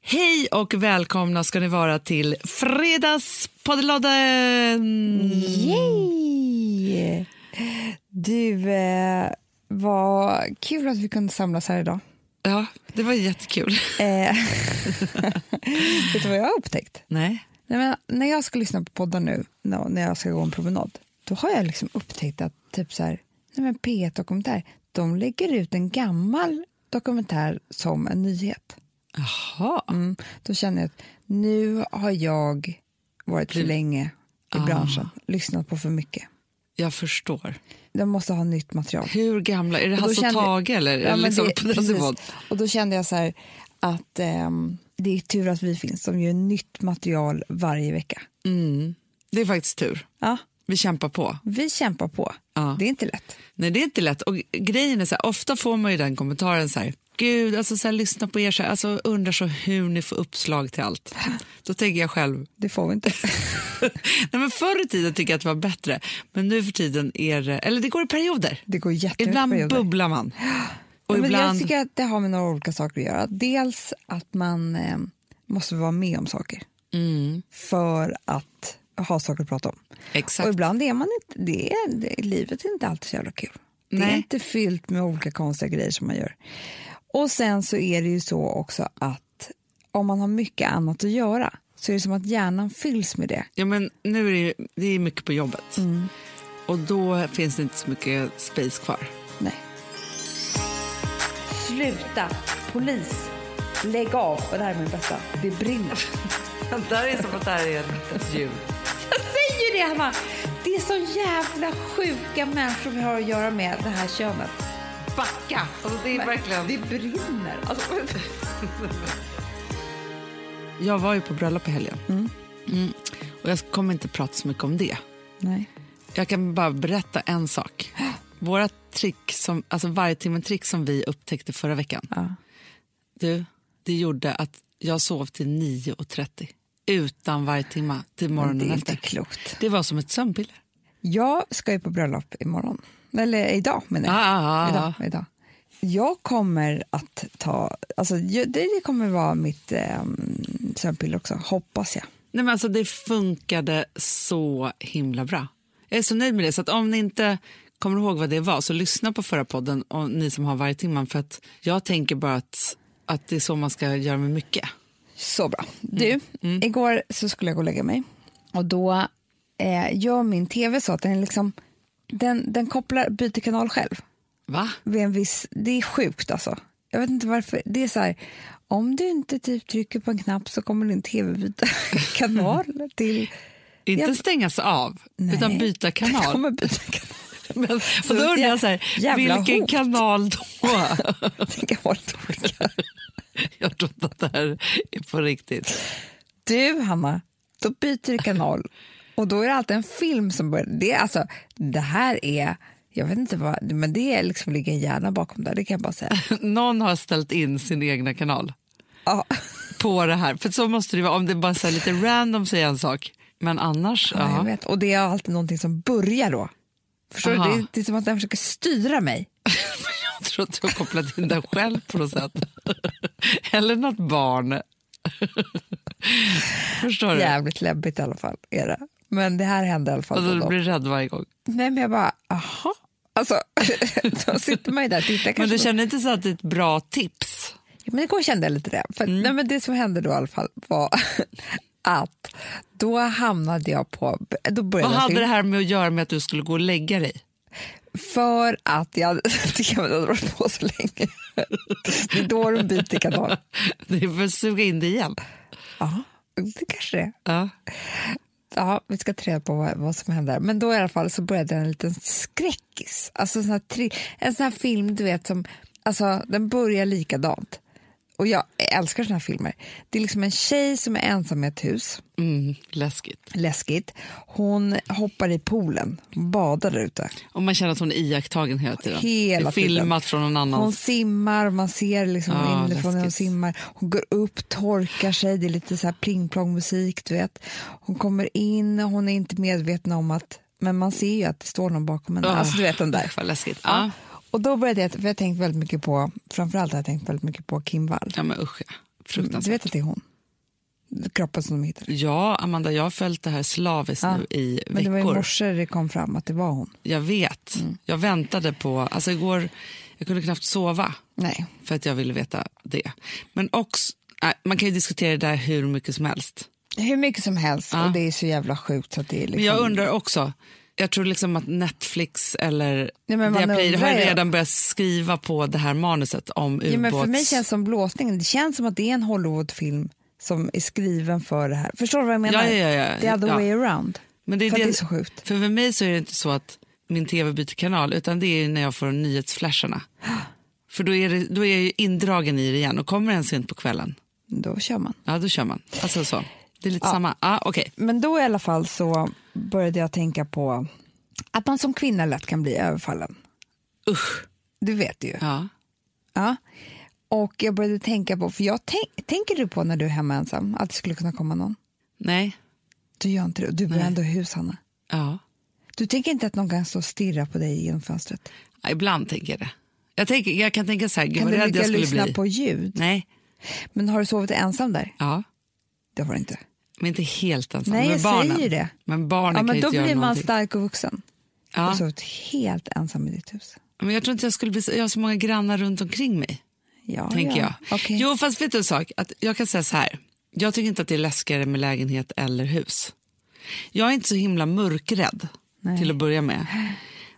Hej och välkomna ska ni vara till Fredagspoddlodden! Yay! Du, eh, vad kul att vi kunde samlas här idag. Ja, det var jättekul. Eh, vet du vad jag har upptäckt? Nej. Nej, men när jag ska lyssna på poddar nu, nå- när jag ska gå en promenad, då har jag liksom upptäckt att typ så här, nej men P1 Dokumentär, de lägger ut en gammal dokumentär som en nyhet. Jaha. Mm, då känner jag att nu har jag varit för länge i branschen, lyssnat på för mycket. Jag förstår. De måste ha nytt material. Hur gamla? Är det Och då Hasse och kände- Alltså, Tage? Eller? Ja, men liksom, det- på den precis. nivån? Och då kände jag så här att ehm, det är tur att vi finns som gör nytt material varje vecka. Mm. det är faktiskt tur. Ja, Vi kämpar på. vi kämpar på. Ja. Det är inte lätt. Nej, det är inte lätt. Och grejen är så här, ofta får man ju den kommentaren så här, gud, alltså så här, lyssna på er, så här, alltså undrar så hur ni får uppslag till allt. Då tänker jag själv, Det får vi inte. nej men förr i tiden tycker jag att det var bättre, men nu för tiden är det, eller det går i perioder. Det går jättehögt Ibland perioder. bubblar man. Och Ja, men ibland, Jag tycker att det har med några olika saker att göra. Dels att man ehm, måste vara med om saker mm, för att ha saker att prata om. exakt. Och ibland är man inte, det är, det, livet är inte alltid så jävla kul. Det Nej. är inte fyllt med olika konstiga grejer som man gör. Och sen så är det ju så också att om man har mycket annat att göra så är det som att hjärnan fylls med det. Ja, men nu är det, ju- det är mycket på jobbet Mm. och då finns det inte så mycket space kvar. Nej. Sluta! Polis! Lägg av! Och det här är min bästa. Det brinner. Det här är som att det här är ett djur. Jag säger det, Hanna! Det är så jävla sjuka människor vi har att göra med, det här könet. Backa! Alltså, det är verkligen... Det brinner. Alltså, Jag var ju på bröllop i helgen. Mm. Och jag kommer inte prata så mycket om det. Nej. Jag kan bara berätta en sak. Våra trick, som, alltså varje timme trick som vi upptäckte förra veckan, Ja. du, det gjorde att jag sov till 9.30 utan varje timme till Det morgonen är inte efter. klokt. Det var som ett sömnpiller. Jag ska ju på bröllop imorgon. Eller idag menar jag. Ah, ah, ah. Idag, idag. Jag kommer att ta, alltså jag- det det kommer vara mitt eh, sömnpiller också, hoppas jag. Nej, men alltså, det funkade så himla bra. Jag är så nöjd med det. Så att om ni inte kommer ihåg vad det var, så lyssna på förra podden, och ni som har varje timman. För att jag tänker bara att, att det är så man ska göra med mycket. Så bra. Du, igår så skulle jag gå och lägga mig och då eh, gör min tv så att den liksom, den, den kopplar, byter kanal själv. Va? Vid en viss, det är sjukt alltså. Jag vet inte varför. Det är så här, om du inte typ trycker på en knapp så kommer din tv byta kanal till... Inte stängas av, utan byta Den kanal. kommer byta kanal. Men, och då ett undrar jä- jag, så här, jävla vilken hot. kanal då? Tänk att vara lite olika. jag tror inte att det här är på riktigt. Du, Hanna, då byter du kanal och då är det alltid en film som börjar. Det, är alltså, det här är, jag vet inte vad, men det är liksom ligger en hjärna bakom där, det kan jag bara säga. Någon har ställt in sin egna kanal. Ja. på det här. För så måste det ju vara. Om det bara är lite random så är en sak. Men annars, Ja, jag ja. vet. Och det är alltid någonting som börjar då. Förstår Aha. du? Det är, det är som att den försöker styra mig. Jag tror att du har kopplat in den själv på något sätt. Eller något barn. Förstår du? Jävligt läbbigt i alla fall är det. Men det här hände i alla fall. Alltså, då och du då. blir rädd varje gång. Nej, men jag bara, aha. Alltså, då sitter man ju där och tittar. Men kanske du på- känner inte så att det är ett bra tips? Ja, Men igår kände jag lite det. För, Mm. nej, men det som hände då i alla fall var att då hamnade jag på... Då började Vad jag hade film- det här med att göra med att du skulle gå och lägga dig? För att jag tvn hade varit på så länge. Det är då de byter kanal. Det är för att suga in det igen. Ja, det kanske det är. Ja. Ja, vi ska ta reda på vad, vad som händer. Men då i alla fall så började en liten skräckis. Alltså en sån här, tri- en sån här film, du vet, som alltså, den börjar likadant. Och jag älskar såna här filmer. Det är liksom en tjej som är ensam i ett hus. Mm, läskigt. läskigt. Hon hoppar i poolen, hon badar där ute. Och man känner att hon är iakttagen hela tiden. det Hela är filmat från någon Hon annans. simmar, man ser liksom Ja, inifrån hur hon läskigt. simmar. Hon går upp, torkar sig, det är lite så här plingplong musik, du vet. Hon kommer in, hon är inte medveten om att, men man ser ju att det står någon bakom henne. Ah, Alltså du vet den där. Vad läskigt. Ja. Och då började jag, för jag har tänkt väldigt mycket på, framförallt har jag tänkt väldigt mycket på Kim Wall. Ja, men usch ja. Fruktansvärt. Du vet att det är hon? Kroppen som de hittade. Ja, Amanda, jag har följt det här slaviskt Ja, nu i veckor. Men det var i morse Mm. det kom fram att det var hon. Jag vet. Jag väntade på... Alltså igår, jag kunde knappt sova Nej. för att jag ville veta det. Men också, nej, man kan ju diskutera det där hur mycket som helst. Hur mycket som helst Ja. och det är så jävla sjukt så att det är Men liksom... jag undrar också, jag tror liksom att Netflix eller Nej, men man Viaplay har ju undrar ju. redan börjat skriva på det här manuset om ja, men för mig ubåts... känns det som blåsningen, det känns som att det är en Hollywoodfilm som är skriven för det här. Förstår du vad jag menar? Ja, ja, ja, ja. The other Ja. way around. Men för att det är så sjukt. För, för mig så är det inte så att min tv byter kanal, utan det är ju när jag får nyhetsflasharna. För då är, det, då är jag ju indragen i det igen och kommer en sent på kvällen, Då kör man. ja då kör man. Alltså så. Det är lite samma. Ah, okej. Men då i alla fall så började jag tänka på att man som kvinna lätt kan bli överfallen. Usch. Du vet ju. Ja. Ja. Och jag började tänka på, för jag tänk, tänker du på när du är hemma ensam att det skulle kunna komma någon? Nej. Du gör inte det. Du bor ändå i hus, Hanna. Ja. Du tänker inte att någon kan stå och stirra på dig genom fönstret? Ja, Ibland tänker jag det. Jag, tänker, jag kan tänka så här, gud Kan vad du rädd jag lyckas skulle lyssna bli. på ljud? Nej. Men har du sovit ensam där? Ja. Det har du inte. Men inte helt ensam. Nej, men jag barnen. säger det. Men barnen Ja, kan men ju då inte göra blir man någonting. stark och vuxen. Du har Ja. sovit helt ensam i ditt hus. Men jag tror inte jag skulle bli så, jag har så många grannar runt omkring mig. Ja, tänker ja. jag. Okej. Jo, fast vet du en sak? Att jag kan säga så här. Jag tycker inte att det är läskigare med lägenhet eller hus. Jag är inte så himla mörkrädd till att börja med.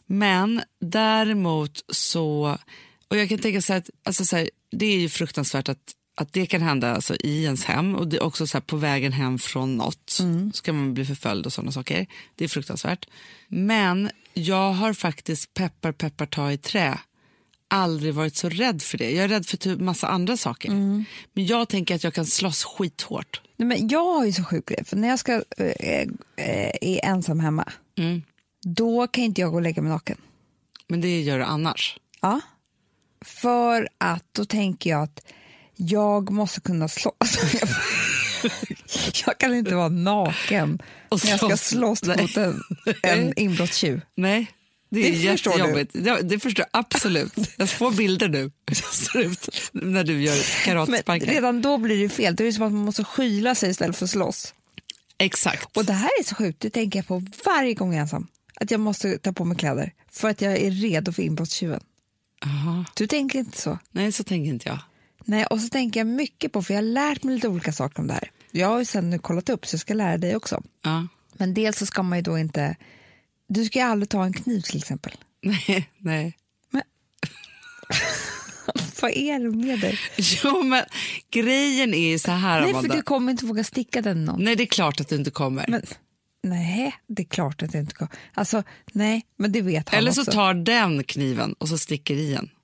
Men däremot så, och jag kan tänka så här, att, alltså så här det är ju fruktansvärt att, att det kan hända alltså i ens hem och det är också så här på vägen hem från något så kan man bli förföljd och sådana saker. Det är fruktansvärt. Men jag har faktiskt peppar peppar ta i trä aldrig varit så rädd för det. Jag är rädd för typ massa andra saker. Men jag tänker att jag kan slåss skithårt. Nej, men jag har ju så sjuk grej, för när jag ska, eh, eh, är ensam hemma, Mm. då kan inte jag gå och lägga mig naken. Men det gör du annars. Ja. För att då tänker jag att jag måste kunna slå. Alltså, jag, jag kan inte vara naken Och när jag ska slåss. slåss mot en, en inbrottstjuv. Nej, det är Det förstår jättejobbigt. Det, det förstår jag absolut. Jag får bilder nu hur det ser ut när du gör Men karatesparkar. redan då blir det fel. Då är det som att man måste skyla sig istället för att slåss. Exakt. Och det här är så sjukt, det tänker jag på varje gång jag är ensam. Att jag måste ta på mig kläder för att jag är redo för inbrottstjuven. Aha. Du tänker inte så? Nej, så tänker inte jag. Nej, och så tänker jag mycket på, för jag har lärt mig lite olika saker om det här. Jag har ju sen nu kollat upp, så jag ska lära dig också. Ja. Men dels så ska man ju då inte... Du ska ju aldrig ta en kniv till exempel. Nej, nej. Vad är det med dig? Jo, men grejen är ju så här, Nej, för Amanda. du kommer inte våga sticka den någon. Nej, det är klart att du inte kommer. Men, nej, det är klart att det inte går. Alltså, nej, men det vet han Eller så också. tar den kniven och så sticker i en.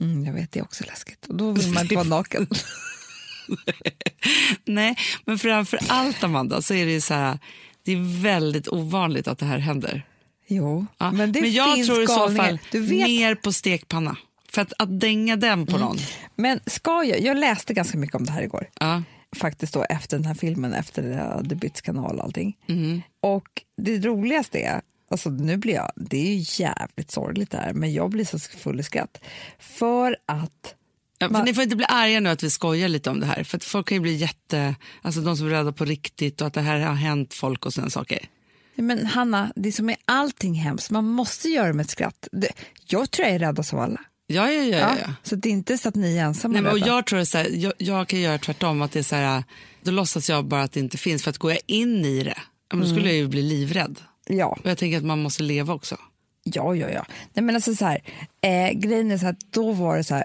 Mm, jag vet, det är också läskigt. Och då vill man inte vara naken. Nej, men framför allt Amanda så är det ju så här, det är väldigt ovanligt att det här händer. Jo, Ja, men det jag finns tror i så galningar. fall Du vet Mm. mer på stekpanna. För att, att dänga den på någon. Men ska jag, jag läste ganska mycket om det här igår, Ja. faktiskt då efter den här filmen, efter det hade bytts kanal och allting. Mhm. Och det roligaste är, alltså nu blir jag, det är ju jävligt sorgligt det här, men jag blir så full i skratt. För att, Ja, för Man- Ni får inte bli arga nu att vi skojar lite om det här. För att folk kan ju bli jätte, alltså de som är rädda på riktigt och att det här har hänt folk och sådana saker. men Hanna, det som är allting hemskt, man måste göra det med ett skratt. Det, jag tror jag är räddast av alla. Ja, ja, ja. ja. Ja, ja. Så det är inte så att ni är ensamma Nej, men, och rädda. jag tror att så här, jag, jag kan göra tvärtom, att det är så här, då låtsas jag bara att det inte finns. För att går jag in i det, ja, men då skulle Mm. jag ju bli livrädd. Ja. Och jag tänker att man måste leva också. Ja, ja, ja. Nej, men alltså så här, eh, grejen är så här, då var det så här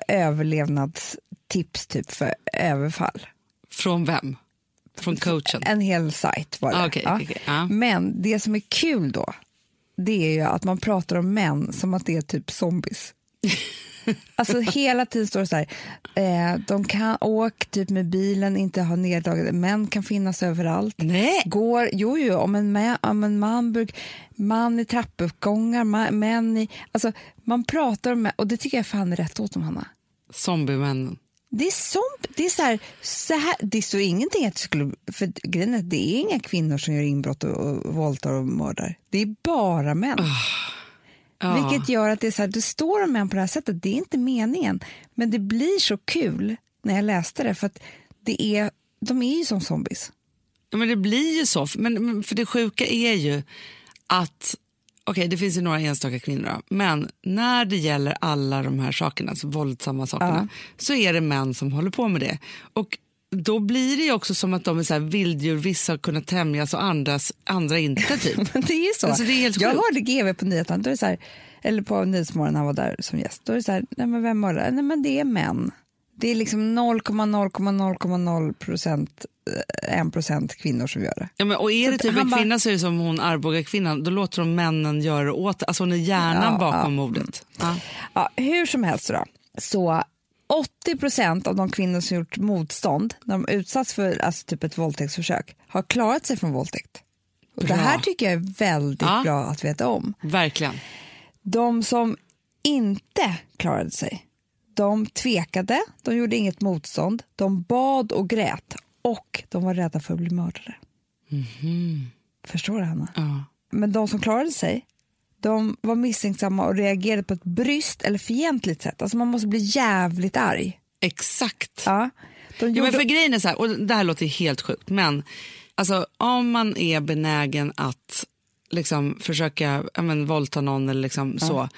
överlevnadstips typ för överfall. Från vem? Från coachen? En hel sajt var det. Ah, Liksom. okej, okej, okej. Ja. Men det som är kul då, det är ju att man pratar om män som att det är typ zombies. Alltså hela tiden står det så här, eh, de kan åka typ med bilen, inte ha neddragen, män kan finnas överallt. Nej. Går, jo, jo, om en, mä, om en man, bruk, man i trappuppgångar, ma, män i... Alltså, man pratar om... Och det tycker jag fan är rätt åt dem, Hanna. Zombiemännen. Det är sånt, det är så här, så här, det står ingenting att det skulle, för grejen är att det är inga kvinnor som gör inbrott och, och våldtar och mördar. Det är bara män. Ja. Vilket gör att det är så här, det står om män på det här sättet, det är inte meningen. Men det blir så kul när jag läste det för att det är, de är ju som zombies. Ja, men det blir ju så. Men, men för det sjuka är ju att, okej det finns ju några enstaka kvinnor då, men när det gäller alla de här sakerna, alltså våldsamma sakerna, så är det män som håller på med det. Och då blir det ju också som att de är så här vilddjur, vissa har kunnat tämjas och andras, andra inte typ. Men det är ju så. Alltså, det är helt jag sjukt. hörde GV på nyheterna, då är det så här, eller på Nyhetsmorgon när han var där som gäst. Då är det så här, nej men vem mördar? Nej men det är män. Det är liksom 0,0,0,0 procent, eh, 1 procent kvinnor som gör det. Ja, men, och är det att typ en han bara- kvinna så är det som hon Arboga kvinnan då låter de männen göra det åt Alltså hon är hjärnan Ja, Mm. bakom mordet. Ja. Ja, hur som helst då, så 80 procent av de kvinnor som gjort motstånd när de utsatts för alltså, typ ett våldtäktsförsök har klarat sig från våldtäkt. Och det Bra. här tycker jag är väldigt Ja. bra att veta om. Verkligen. De som inte klarade sig, de tvekade, de gjorde inget motstånd, de bad och grät och de var rädda för att bli mördare. Mhm. Förstår du, Hanna? Ja. Men de som klarade sig, de var misstänksamma och reagerade på ett bryskt eller fientligt sätt. Alltså man måste bli jävligt arg. Exakt. Ja. De Jo, gjorde... men för grejen är så här, och det här låter helt sjukt, men alltså, om man är benägen att liksom, försöka ja, men, våldta någon eller liksom, så,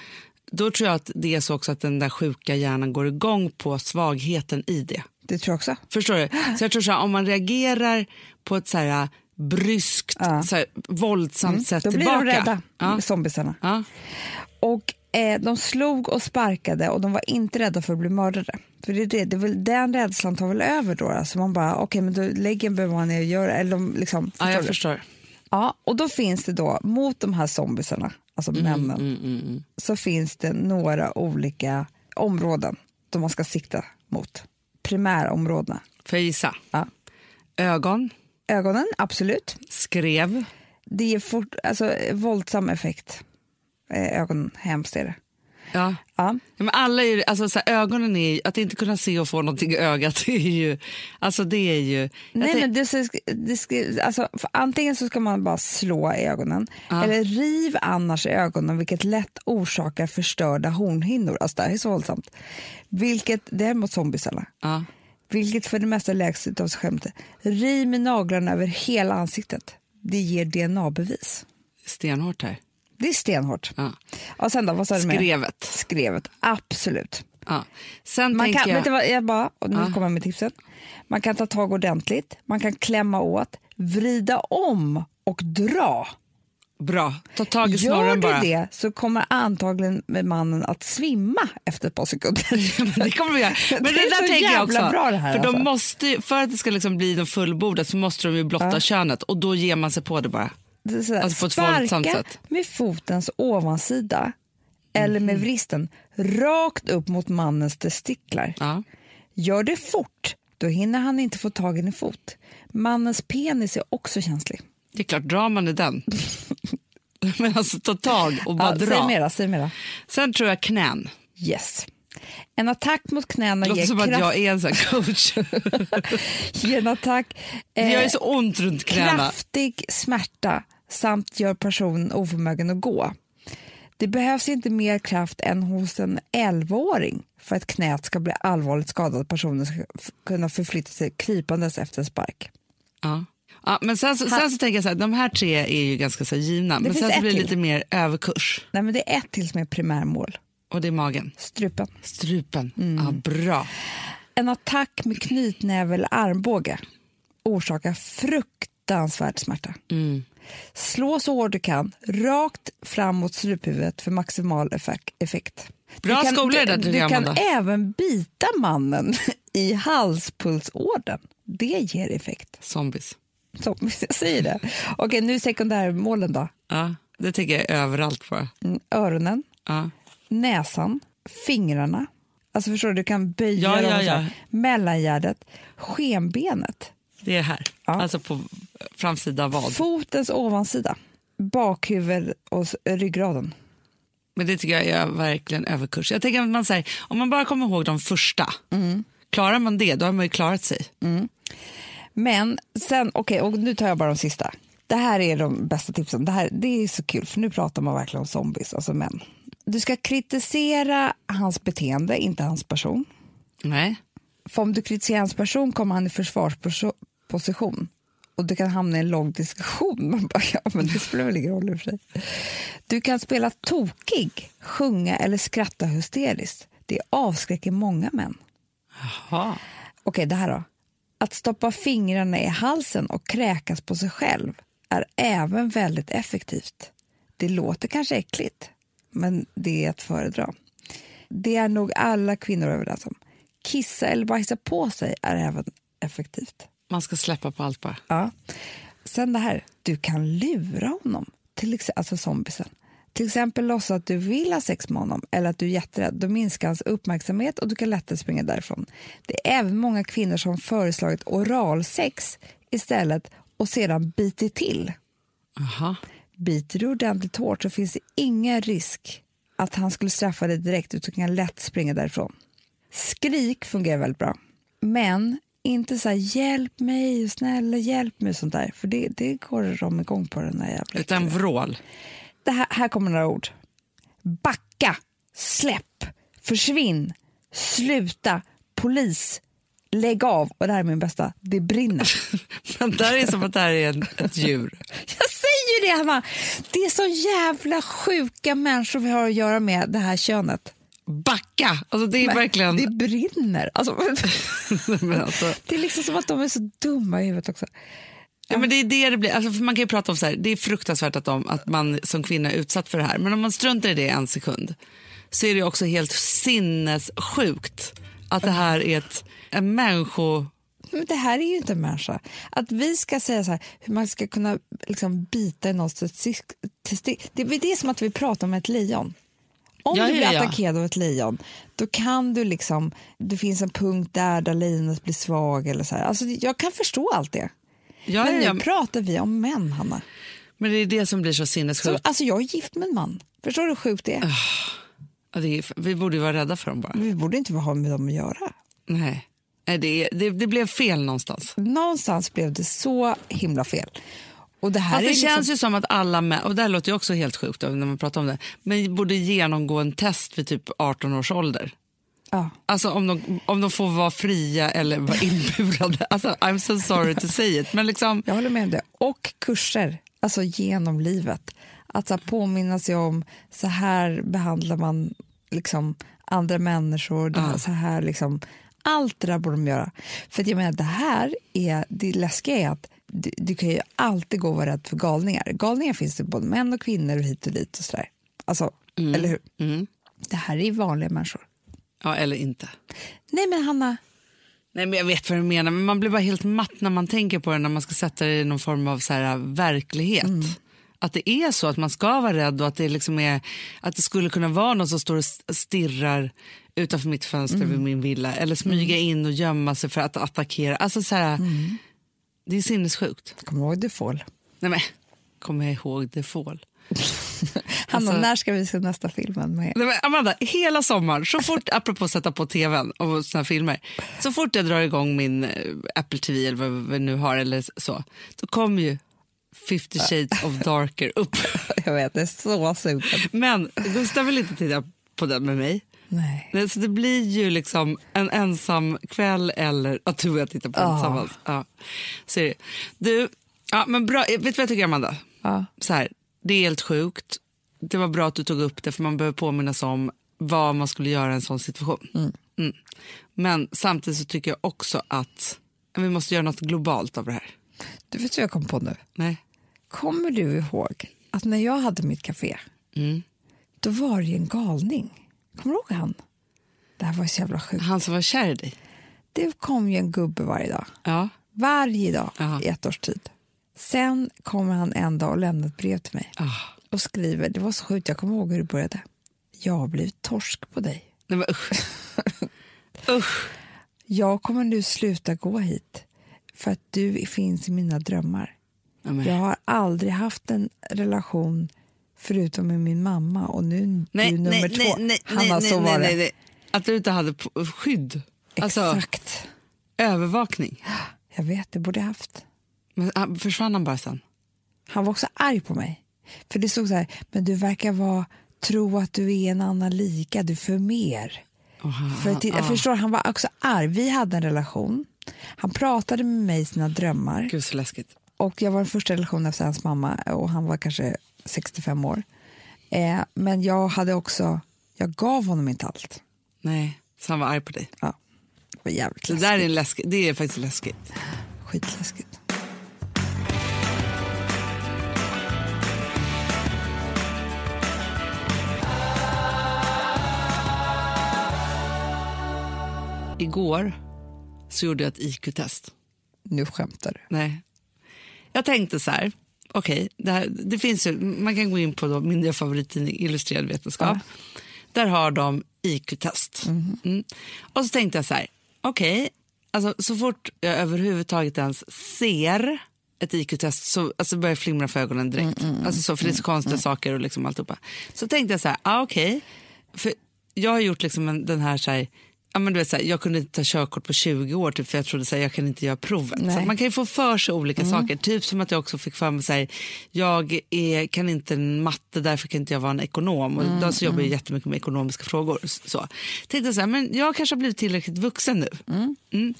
då tror jag att det är så också att den där sjuka hjärnan går igång på svagheten i det. Det tror jag också. Förstår du? Så jag tror så här, om man reagerar på ett så här äh, bryskt, så här, våldsamt sätt Mm, Då blir tillbaka. de rädda, Ja. zombisarna. Ja. Och eh, de slog och sparkade och de var inte rädda för att bli mördade. För det är det, det är väl, den rädslan tar väl över då. Alltså man bara, okej men då lägger en beman ner och gör det. Eller de ja, liksom, förstår jag du? förstår. ja, och då finns det då, mot de här zombisarna, alltså Mm, männen, så finns det några olika områden som man ska sikta mot. Primärområdena. Får jag gissa? Ja. Ögon, Ögonen, absolut. skrev, Det ger fort, alltså, våldsam effekt. Eh, ögonen, hemskt är det. ja. Ja. Ja, men alla är ju, alltså, så här, ögonen är ju, att inte kunna se och få någonting i ögat det är ju, alltså det är ju. jag Nej, tänk- men det, ska- det ska, alltså, för antingen så ska man bara slå i ögonen eller riv annars i ögonen vilket lätt orsakar förstörda hornhinnor. Alltså det här är så våldsamt. Vilket, det är mot zombisarna. ja. Vilket för det mesta läks utav sig skämt. Riv med naglarna över hela ansiktet. Det ger DNA-bevis. Stenhårt här. Det är stenhårt. Ja. Och sen då, vad sa du mer? Skrevet. Skrevet, absolut. Ja. Sen Man tänker kan, vet jag, du vad, jag bara, och nu kommer jag med tipsen. Man kan ta tag ordentligt, man kan klämma åt, vrida om och dra. bra, ta tag i Gör snorren du bara. det så kommer antagligen mannen att svimma efter ett par sekunder. Ja, men det kommer vi göra. Men Det det, är så där tänker jag jävla också. bra det här, för, de alltså. måste, ju- för att det ska liksom bli de fullbordat så måste de ju blotta könet och då ger man sig på det bara. Det är sådär, Alltså på ett våldsamt sparka sätt. med fotens ovansida eller med Mhm. vristen rakt upp mot mannens testiklar. Ja. Gör det fort, då hinner han inte få tag i din fot. Mannens penis är också känslig. Det är klart, drar man i den. men alltså ta tag och bara Ja, säg dra. mera, säg mera. Sen tror jag knän. Yes. En attack mot knäna Det ger, låter som att kraft, jag är en sån här coach. ger en attack, Det eh, gör ju så ont runt knäna. kraftig smärta samt gör personen oförmögen att gå. Det behövs inte mer kraft än hos en 11-åring för att knät ska bli allvarligt skadat och personen ska f- kunna förflytta sig krypandes efter en spark. Ja. Ja, men sen, så- sen så tänker jag så här, de här tre är ju ganska så här givna, men finns sen så ett blir det till. lite mer överkurs Nej, men det är ett till som är primärmål, och det är magen. strupen. Strupen. Mm. Ja, bra. En attack med knytnäve eller armbåge orsakar fruktansvärd smärta. Mm. Slå så hårt du kan, rakt fram mot struphuvudet för maximal effek- effekt. Bra du kan, skolor där, Du, tycker du jag, kan Amanda. även bita mannen i halspulsådern. Det ger effekt. Zombies. Som jag säger det. Okej, nu sekundärmålen då. Ja, det tänker jag överallt på. Mm, Öronen, Ja. näsan, fingrarna. Alltså förstår du, du kan böja Ja, dem ja, och så här. ja. Mellangärdet, skenbenet. Det är här, Ja. alltså på framsida vad. Fotens ovansida, bakhuvud och s- ryggraden. Men det tycker jag är verkligen överkurs. Jag tänker att man säger, om man bara kommer ihåg de första, Mm. klarar man det, då har man ju klarat sig. Men sen, okej, och nu tar jag bara de sista. Det här är de bästa tipsen. Det, här, det är så kul, för nu pratar man verkligen om zombies, alltså män. Du ska kritisera hans beteende, inte hans person. Nej. För om du kritiserar hans person kommer han i försvarsposition och du kan hamna i en lång diskussion. Man bara, ja, men det spelar väl ingen roll i och för sig. Du kan spela tokig, sjunga eller skratta hysteriskt. Det avskräcker många män. Jaha. Okej, det här då. Att stoppa fingrarna i halsen och kräkas på sig själv är även väldigt effektivt. Det låter kanske äckligt, men det är att föredra. Det är nog alla kvinnor överens om. Kissa eller bajsa på sig är även effektivt. Man ska släppa på allt bara. Ja. Sen det här, du kan lura honom, till ex- alltså zombisen. Till exempel låtsas att du vill ha sex med honom eller att du är jätterädd. Då minskar hans uppmärksamhet och du kan lättare springa därifrån. Det är även många kvinnor som föreslagit oralsex istället och sedan bitit till. Aha. Biter du ordentligt hårt så finns det ingen risk att han skulle straffa dig direkt utan kan lätt springa därifrån. Skrik fungerar väldigt bra, men inte så här hjälp mig, snälla hjälp mig sånt där. För det, det går de igång på den här jävla Utan vrål. det här, här kommer några ord. Backa, släpp, försvinn, sluta, polis, lägg av. Och det här är min bästa, det brinner. Men där är som att det här är en, ett djur. Jag säger det, Hanna! Det är så jävla sjuka människor vi har att göra med, det här könet. Backa! Alltså det är verkligen... Det brinner. Alltså, men alltså, det är liksom som att de är så dumma i huvudet också. ja, men det är det det blir. Alltså, för man kan ju prata om så här, det är fruktansvärt att, de, att man som kvinna är utsatt för det här. Men om man struntar i det en sekund så är det ju också helt sinnessjukt att det här är ett, en människo... Men det här är ju inte en människa. Att vi ska säga så här, hur man ska kunna liksom bita i någons testik- testik. Det, det är som att vi pratar om ett lejon. Om Ja, du ja, blir ja. attackerad av ett lejon, då kan du liksom, det finns en punkt där, där lejonet blir svag eller så här. Alltså, jag kan förstå allt det. Ja, Men nu ja, pratar vi om män, Hanna. men det är det som blir så Så, sinnessjukt. alltså, jag är gift med en man. Förstår du hur sjukt det är? Ah. Ja, det är, vi borde ju vara rädda för dem bara. Vi borde inte ha med dem att göra. Nej, Nej, det, är- det, det blev fel någonstans. Någonstans blev det så himla fel. Och det här Fast är det liksom- känns ju som att alla män, och det här låter ju också helt sjukt när man pratar om det, men borde genomgå en test vid typ 18 års ålder. ja. Alltså om de, om de får vara fria eller vara inburade. Alltså, I'm so sorry to say it. Men liksom, Jag håller med om det. Och kurser, alltså genom livet. Att så här, påminna sig om så här behandlar man liksom andra människor. Det här, så här liksom, allt det där borde de göra. För att jag menar, det här är, det läskiga är att du, du kan ju alltid gå och vara rädd för galningar. Galningar finns det både män och kvinnor och hit och dit och sådär. Alltså, eller hur? Det här är ju vanliga människor. ja eller inte. Nej men Hanna, Nej men jag vet vad du menar, men man blir bara helt matt när man tänker på det när man ska sätta det i någon form av så här, äh, verklighet. Att det är så, att man ska vara rädd och att det, liksom är, att det skulle kunna vara någon som står och s- stirrar utanför mitt fönster vid min villa eller smyga in och gömma sig för att attackera. Alltså så här, Det är sinnessjukt. kommer du ihåg The Fall? Nej men, kommer jag ihåg The Fall? Hanna, Alltså- när ska vi se nästa filmen med? Nej, men Amanda, hela sommaren, så fort, apropå sätta på tvn och såna här filmer, så fort jag drar igång min eh, Apple TV eller vad vi nu har eller så, då kommer ju 50 shades of darker upp. Jag vet, det är så sugen. Men Gustav vill inte titta på den med mig. Nej. Nej, Så det blir ju liksom en ensam kväll eller att du och jag tittar på den Ja. tillsammans. Ja. Så är det. Du, ja, men bra. Eh, Vet du vad jag tycker Amanda? Ja. så här, det är helt sjukt. Det var bra att du tog upp det, för man behöver påminnas om vad man skulle göra i en sån situation. Mm. Men samtidigt så tycker jag också att vi måste göra något globalt av det här. Du vet vad jag kom på nu? Nej? Kommer du ihåg att när jag hade mitt café, Mm. då var det ju en galning. Kommer du ihåg han? Det här var så jävla sjukt. Han som var kär i dig? Det kom ju en gubbe varje dag. Ja. Varje dag Ja. i ett års tid. Sen kommer han en dag och lämnar ett brev till mig Ah. och skriver, det var så sjukt, jag kommer ihåg hur det började. Jag har blivit torsk på dig. Nej, men usch. usch. Jag kommer nu sluta gå hit för att du finns i mina drömmar. Nej, men. Jag har aldrig haft en relation förutom med min mamma och nu är du nummer två. Hanna, så var det. Att du inte hade p- skydd. Alltså Exakt. övervakning. Jag vet, det borde jag haft. Men han, försvann han bara sen? Han var också arg på mig. För det stod så här, men du verkar vara, tro att du är en annan lika, du förmer. För att, jag förstår, han var också arg. Vi hade en relation. Han pratade med mig sina drömmar. Gud så läskigt. Och jag var i första relation efter hans mamma och han var kanske 65 år. Eh, men jag hade också, jag gav honom inte allt. Nej, så han var arg på dig. Ja, det var jävligt Det läskigt. där är, en läsk- det är faktiskt läskigt. Skitläskigt. Igår så gjorde jag ett IQ-test. Nu skämtar du. Nej. Jag tänkte så här, okej, det, här- det finns ju, man kan gå in på då, min nya favorittidning Illustrerad vetenskap. Där har de IQ-test. Mm. Och så tänkte jag så här, okej, alltså, så fort jag överhuvudtaget ens ser ett IQ-test så alltså börjar jag flimra för ögonen direkt. alltså så, för det är så konstiga saker och liksom alltihopa. Så tänkte jag så här, ah, okej, för jag har gjort liksom en, den här så här, ja, men du vet, så här, jag kunde inte ta körkort på 20 år typ, för jag trodde så här, jag kan inte göra provet. Så att man kan ju få för sig olika saker. Typ som att jag också fick för mig så här, jag är, kan inte matte därför kan inte jag vara en ekonom. Och idag så jobbar jag jättemycket med ekonomiska frågor. s- Så. Tänkte jag så här, men jag kanske har blivit tillräckligt vuxen nu. Mm.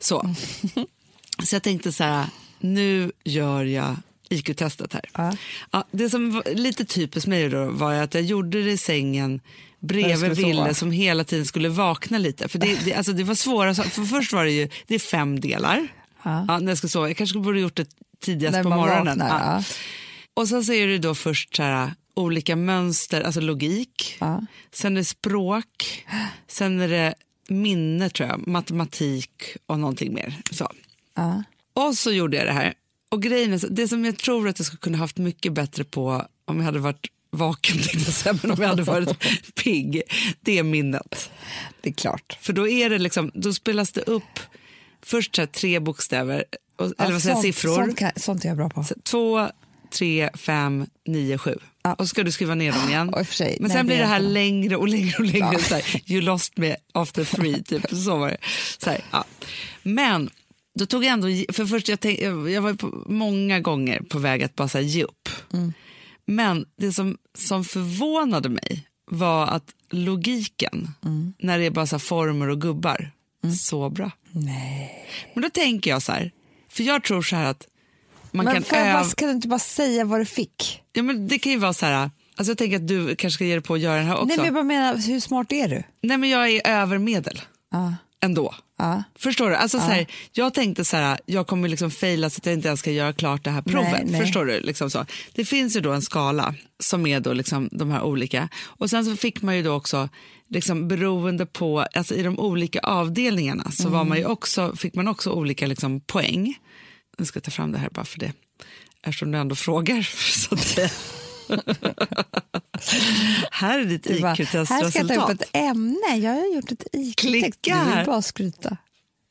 Så. Så jag tänkte så här, nu gör jag IQ-testet här. Ja. det som var lite typiskt mig då var ju att jag gjorde det i sängen När bredvid du skulle sova. Ville som hela tiden skulle vakna lite. För det, det, alltså det var svåra saker. För först var det ju, det är fem delar. Ja. när jag ska sova. Jag kanske borde gjort det tidigast När på man morgonen. vaknar, Ja. ja. Och sen så är det då först så här, äh, olika mönster, alltså logik. Ja. Sen är det språk. Sen är det minne, tror jag. Matematik och någonting mer. Så. Ja. Och så gjorde jag det här. Och grejen är, så- det som jag tror att jag skulle kunna haft mycket bättre på om jag hade varit vaken, tänkte jag säga, men om jag hade varit pigg, det är minnet. Det är klart. För då är det liksom, då spelas det upp först så här tre bokstäver, och, eller vad säger jag, sånt, siffror. Sånt, kan, sånt är jag bra på. Så Två, tre, fem, nio, sju. Och så ska du skriva ner dem igen. Och i och för sig, Men nej, sen det blir det är här inte. längre och längre och längre. Så här, you lost me after three, typ. Så var det. Så här, ja. Men då tog jag ändå, för först jag, tänk, jag jag var ju på, många gånger på väg att bara så här, ge upp. Mm. Men det som, som förvånade mig var att logiken, Mm. när det är bara så här, former och gubbar, så bra. Nej. Men då tänker jag så här, för jag tror så här att man Men kan för, öva... vad, kan du inte bara säga vad du fick? Ja, men det kan ju vara så här, alltså jag tänker att du kanske ska ge dig på att göra den här också. Nej, men jag bara menar, hur smart är du? jag är övermedel Ja. ändå. Ja. Förstår du? Alltså, så här, jag tänkte så här, jag kommer liksom faila så att jag inte ens ska göra klart det här provet. Nej, nej. Förstår du? Liksom så. Det finns ju då en skala som är då liksom de här olika. Och sen så fick man ju då också, liksom beroende på, alltså i de olika avdelningarna så var man Mm. ju också, fick man också olika liksom poäng. Nu ska jag ta fram det här bara för det, eftersom du ändå frågar. Så att säga. här är ditt Du bara, här ska jag ta upp IQ-testresultat. ett ämne. Jag har gjort ett IQ-text. Du Klicka här. vill bara skryta.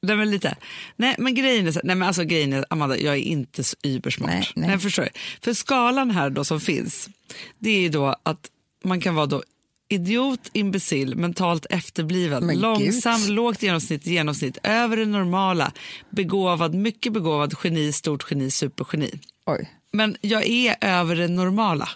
Nej, men lite. Nej, men grejen är, så- nej, men alltså, grejen är Amanda, jag är inte så ybersmart. Nej, nej. Jag förstår. För skalan här då som finns, det är ju då att man kan vara då idiot, imbecill, mentalt efterbliven, Men gud. långsam, lågt genomsnitt, genomsnitt, över det normala, begåvad, mycket begåvad, geni, stort geni, supergeni. Oj. Men jag är över det normala.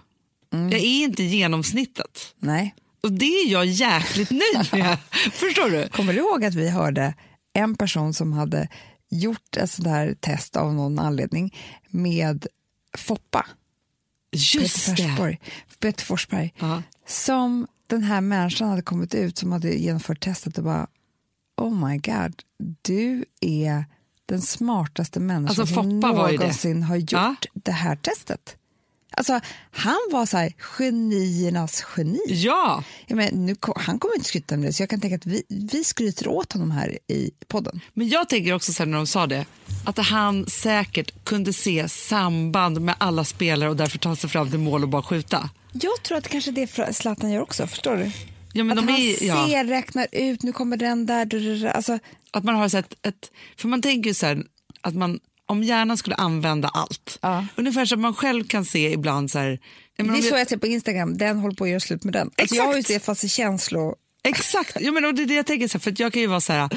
Mm. Jag är inte genomsnittet. Nej. Och det är jag jäkligt nöjd med. förstår du? Kommer du ihåg att vi hörde en person som hade gjort ett sånt här test av någon anledning med Foppa, Just Peter det. Forsberg, Peter Forsberg Ja. som den här människan hade kommit ut som hade genomfört testet och bara oh my god, du är den smartaste människan Alltså, som Foppa var ju det. någonsin har gjort Ja. det här testet. Alltså, han var så här, geniernas geni. Ja. Jag menar, nu, ko- han kommer inte skryta med det, så jag kan tänka att vi, vi skryter åt honom här i podden. Men jag tänker också sen när de sa det, att han säkert kunde se samband med alla spelare och därför ta sig fram till mål och bara skjuta. Jag tror att kanske det Fra- Zlatan gör också, förstår du? Ja, men att de han är, ja, ser, räknar ut, nu kommer den där, du, du, du, alltså, att man har så ett, ett, för man tänker ju så här, att man, om hjärnan skulle använda allt, Ja. ungefär som man själv kan se ibland så här, ja, men Det är om så jag, jag ser på Instagram, den håller på att göra slut med den. Alltså, jag har ju Exakt. det fast i känslor. exakt, ja, men och det är det jag tänker så här, för att jag kan ju vara så här,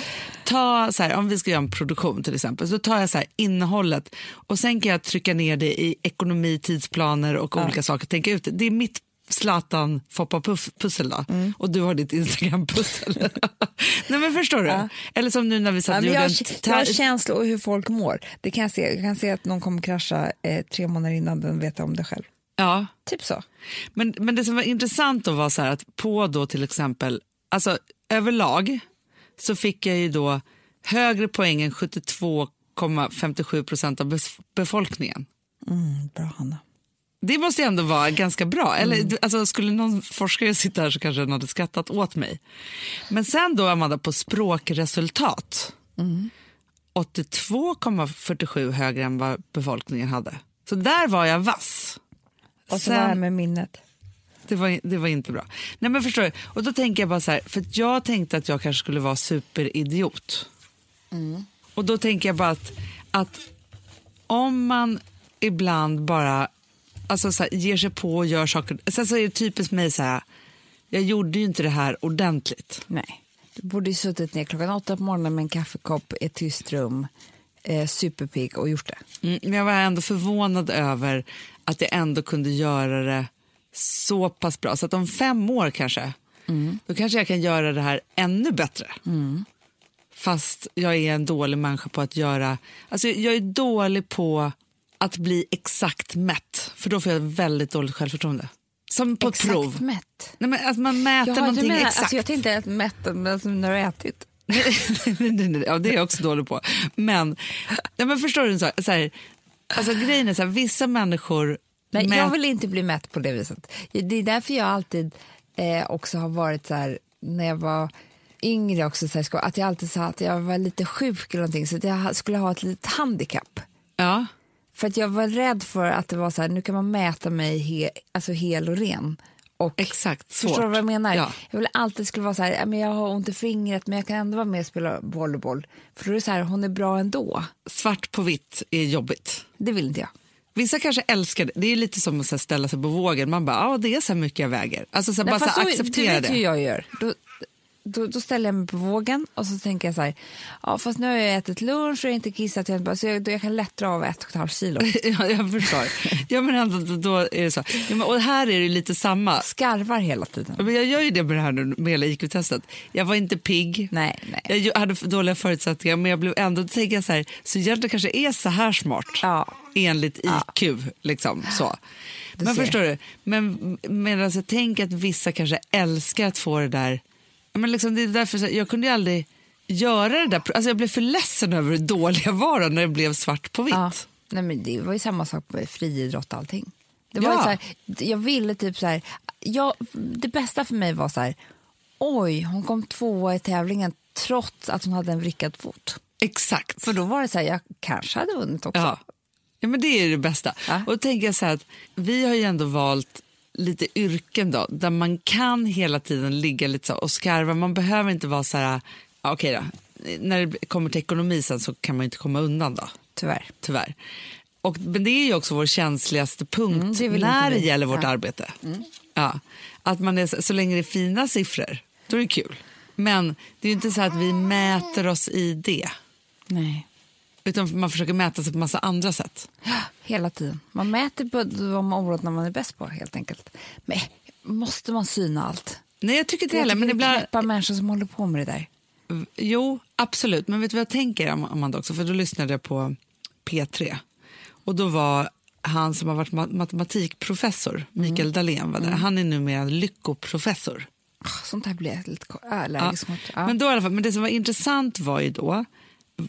ta så här, om vi ska göra en produktion till exempel, så tar jag så här innehållet och sen kan jag trycka ner det i ekonomi, tidsplaner och olika saker, tänka ut det. Det är mitt Zlatan Foppa puff, pussel då? Mm. och du har ditt Instagram-pussel. Nej men förstår du? Eller som nu när vi satt Ja, och men gjorde jag, en jag har tär- känslor och hur folk mår. Det kan jag, se. jag kan se att någon kommer krascha eh, tre månader innan den vet om det själv. Ja, Typ så. Men, men det som var intressant då var så här att på då till exempel, alltså överlag så fick jag ju då högre poäng än 72,57 procent av bef- befolkningen. Mm, bra Hanna. Det måste ju ändå vara ganska bra. Eller, Mm. du- alltså, skulle någon forskare sitta här så kanske den hade skrattat åt mig. Men sen då, Amanda, på språkresultat. Mm. 82,47 högre än vad befolkningen hade. Så där var jag vass. Och så Sen- det här med minnet. det var, det var inte bra. Nej men förstår du? Och då tänker jag bara så här, för att jag tänkte att jag kanske skulle vara superidiot. Och då tänker jag bara att, att om man ibland bara alltså så här, ger sig på och gör saker. Sen så är det typiskt mig så här, jag gjorde ju inte det här ordentligt. Nej. Du borde ju suttit ner klockan åtta på morgonen med en kaffekopp i ett tyst rum, eh, superpigg och gjort det. Mm, men jag var ändå förvånad över att jag ändå kunde göra det så pass bra. Så att om fem år kanske, Mm. då kanske jag kan göra det här ännu bättre. Fast jag är en dålig människa på att göra... Alltså jag är dålig på att bli exakt mätt, för då får jag väldigt dåligt självförtroende. Som på Exakt ett prov. mätt. Nej, men att man mäter du någonting menar- exakt. Alltså jag tänkte att mätt men som när du har ätit. Nej, nej, nej, nej. ja, det är jag också dålig på. Men, ja, men förstår du, så här, så här, alltså, grejen är så här, vissa människor... Nej, mät- Jag vill inte bli mätt på det viset. Det är därför jag alltid eh, också har varit så här, när jag var yngre också, så här, sko- att jag alltid sa att jag var lite sjuk eller någonting, så att jag ha- skulle ha ett litet handikapp. Ja, För att jag var rädd för att det var så här, nu kan man mäta mig he, alltså hel och ren. Och exakt. Svårt. Förstår du vad jag menar? Ja. Jag ville alltid skulle vara så här, "Ja, men jag har ont i fingret men jag kan ändå vara med och spela volleyboll. För då är det så här, hon är bra ändå. Svart på vitt är jobbigt. Det vill inte jag. Vissa kanske älskar det. Det är lite som att så här, ställa sig på vågen. Man bara, ja ah, det är så här mycket jag väger. Alltså så här, bara fast så här, så- acceptera du vet det. ju hur jag gör. Då, då, då ställer jag mig på vågen och så tänker jag så här, ja fast nu har jag ätit lunch och jag har inte kissat, jag, har inte bara- så jag, då jag kan lättra av ett och ett halvt kilo. ja, jag förstår. ja, men ändå, då är det så. Ja, men, och här är det ju lite samma. Skarvar hela tiden. Ja, Men jag gör ju det med det här nu, med hela IQ-testet. Jag var inte pigg. Nej, nej. Jag ju- hade för dåliga förutsättningar, men jag blev ändå, då tänker jag så här, så egentligen kanske är så här smart, Ja. enligt IQ. Liksom, så. Du men ser. förstår du, men, medan jag tänker att vissa kanske älskar att få det där, Ja, men liksom, det är därför så här, jag kunde ju aldrig göra det där, alltså jag blev för ledsen över hur dålig jag var då när det blev svart på vitt. Ja. Nej, men det var ju samma sak med friidrott och allting. Det var Ja. ju så här, jag ville typ så här, jag, det bästa för mig var så här, oj, hon kom tvåa i tävlingen trots att hon hade en vrickad fot. Exakt. För då var det så här, jag kanske hade vunnit också. Ja. ja, men det är ju det bästa. Ja. Och då tänker jag så här att vi har ju ändå valt lite yrken då, där man kan hela tiden ligga lite så och skarva. Man behöver inte vara så här, ja, okej då, när det kommer till ekonomi sen så kan man ju inte komma undan då, Tyvärr. tyvärr. Och, men det är ju också vår känsligaste punkt Mm, det vill när inte det vi. gäller vårt Ja. Mm. arbete. Ja. Att man är, så- så länge det är fina siffror, då är det kul. Men det är ju inte så att vi mäter oss i det, Nej. utan man försöker mäta sig på massa andra sätt. Hela tiden. Man mäter på de områden man är bäst på helt enkelt. Men måste man syna allt? Nej, jag tycker inte Jag heller. tycker Men det ibland... knäppa människor som håller på med det där. Jo, absolut. Men vet du vad jag tänker, Am- Amanda, också? För då lyssnade jag på P3. Och då var han som har varit ma- matematikprofessor, Mm. Mikael Dahlén, var där. Han är numera lyckoprofessor. Ah, Sånt här blir jag lite ko- allergisk mot. Ja. Men, då, i alla fall, men det som var intressant var ju då,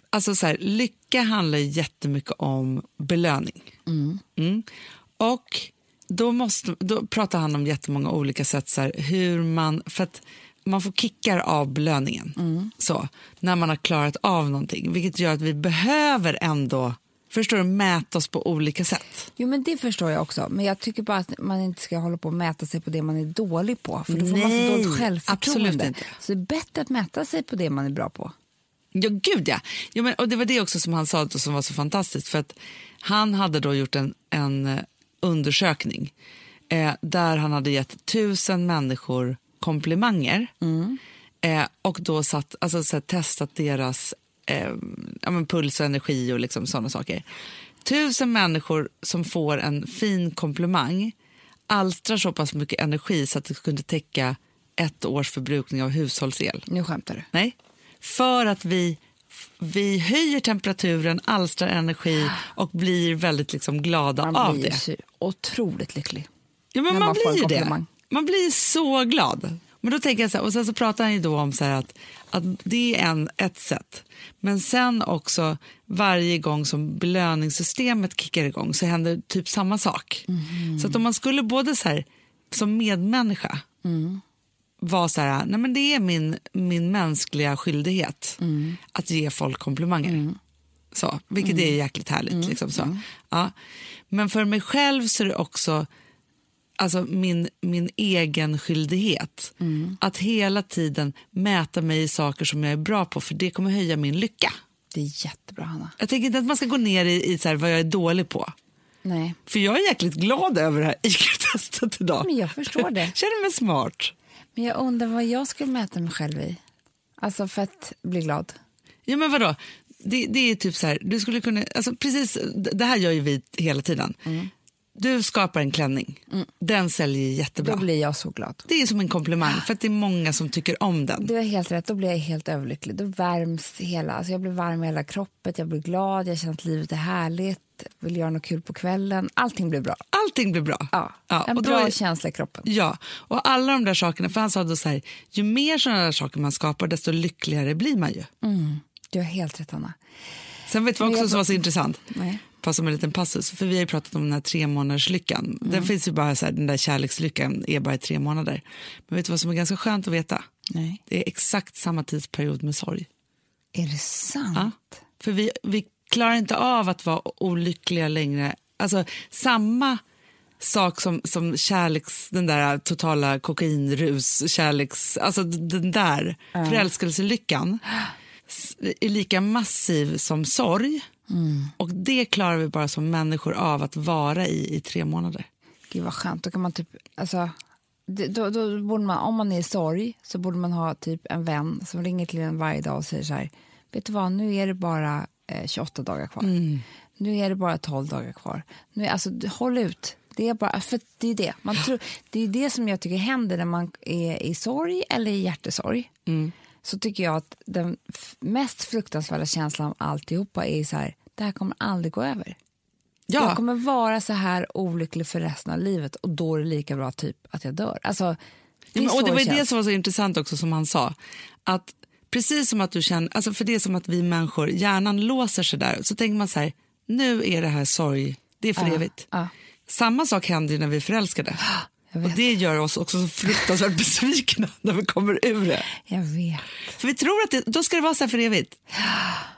alltså så här, lycka handlar ju jättemycket om belöning. Mm. Och då, måste, då pratar han om jättemånga olika sätt, så här, hur man, för att man får kickar av belöningen så, när man har klarat av någonting, vilket gör att vi behöver ändå, förstår du, mäta oss på olika sätt. Jo, men det förstår jag också. Men jag tycker bara att man inte ska hålla på och mäta sig på det man är dålig på. För då får man Nej, så dåligt självförtroende. absolut inte. Så det är bättre att mäta sig på det man är bra på. Ja, gud ja. Jo, men, och det var det också som han sa då, som var så fantastiskt. För att han hade då gjort en, en eh, undersökning eh, där han hade gett tusen människor komplimanger. Eh, och då satt, alltså, så här, testat deras eh, ja, men puls och energi och liksom sådana saker. Tusen människor som får en fin komplimang alstrar så pass mycket energi så att det kunde täcka ett års förbrukning av hushållsel. Nu skämtar du. Nej, för att vi, vi höjer temperaturen, alstrar energi och blir väldigt liksom glada Man av blir det. ju så otroligt lycklig. Ja, men när man, man får en blir ju det. komplimang. Man blir så glad. Men då tänker jag så här, och sen så pratar han ju då om så här att, att det är en, ett sätt. Men sen också varje gång som belöningssystemet kickar igång så händer typ samma sak. Mm. Så att om man skulle både så här, som medmänniska Mm. vara så här, nej men det är min, min mänskliga skyldighet Mm. att ge folk komplimanger. Så, vilket är jäkligt härligt. Mm. Liksom så. Ja. Men för mig själv så är det också alltså min, min egen skyldighet. Mm. Att hela tiden mäta mig i saker som jag är bra på för det kommer höja min lycka. Det är jättebra, Hanna. Jag tänker inte att man ska gå ner i, i så här, vad jag är dålig på. Nej. För jag är jäkligt glad över det här IQ-testet idag. Men jag förstår det. Känner mig smart. Men jag undrar vad jag skulle mäta mig själv i. Alltså för att bli glad. Ja, men vadå? Det, det är typ så här, du skulle kunna, alltså precis, d- det här gör ju vi hela tiden. Mm. Du skapar en klänning, den säljer ju jättebra. Då Mm. blir Ah. jag så glad. Det är som en komplimang för att det är många som tycker om den. Du har helt rätt, då blir jag helt överlycklig. Då värms hela, alltså jag blir varm i hela kroppen, jag blir glad, jag känner att livet är härligt, vill göra något kul på kvällen. Allting blir bra. Allting blir bra. Ja, en och då bra är- känsla i kroppen. Ja, och alla de där sakerna, för han sa då så här, ju mer sådana där saker man skapar desto lyckligare blir man ju. Mm. Du har helt rätt, Anna. Sen vet vi Men också jag- som var så intressant, Nej. bara som en liten passus, för vi har ju pratat om den här tre månaders lyckan. Den finns ju bara så här, den där kärlekslyckan är bara i tre månader. Men vet du vad som är ganska skönt att veta? Nej. Det är exakt samma tidsperiod med sorg. Är det sant? Ja. För vi, vi klarar inte av att vara olyckliga längre. Alltså samma sak som, som kärleks, den där totala kokainrus, kärleks, alltså d- den där förälskelselyckan s- är lika massiv som sorg. Och det klarar vi bara som människor av att vara i i tre månader. Gud vad skönt, då kan man typ, alltså, det- då, då borde man, om man är i sorg så borde man ha typ en vän som ringer till en varje dag och säger så här, vet du vad, nu är det bara eh, 28 dagar kvar, nu är det bara 12 dagar kvar, nu är, alltså du- håll ut. Det är bara, för det är det. Man tror, det är det som jag tycker händer när man är i sorg eller i hjärtesorg. Så tycker jag att den f- mest fruktansvärda känslan av alltihopa är så här, det här kommer aldrig gå över. Jag kommer vara så här olycklig för resten av livet och då är det lika bra typ att jag dör. Alltså, det, Ja, men, är och det så var ju det känns. som var så intressant också som han sa. Att precis som att du känner, alltså för det är som att vi människor, hjärnan låser sig där. Så tänker man så här, nu är det här sorg, det är för evigt. ja. Samma sak händer ju när vi är förälskade. jag Och vet. det gör oss också så fruktansvärt besvikna när vi kommer ur det. Jag vet. För vi tror att det, då ska det vara så här för evigt.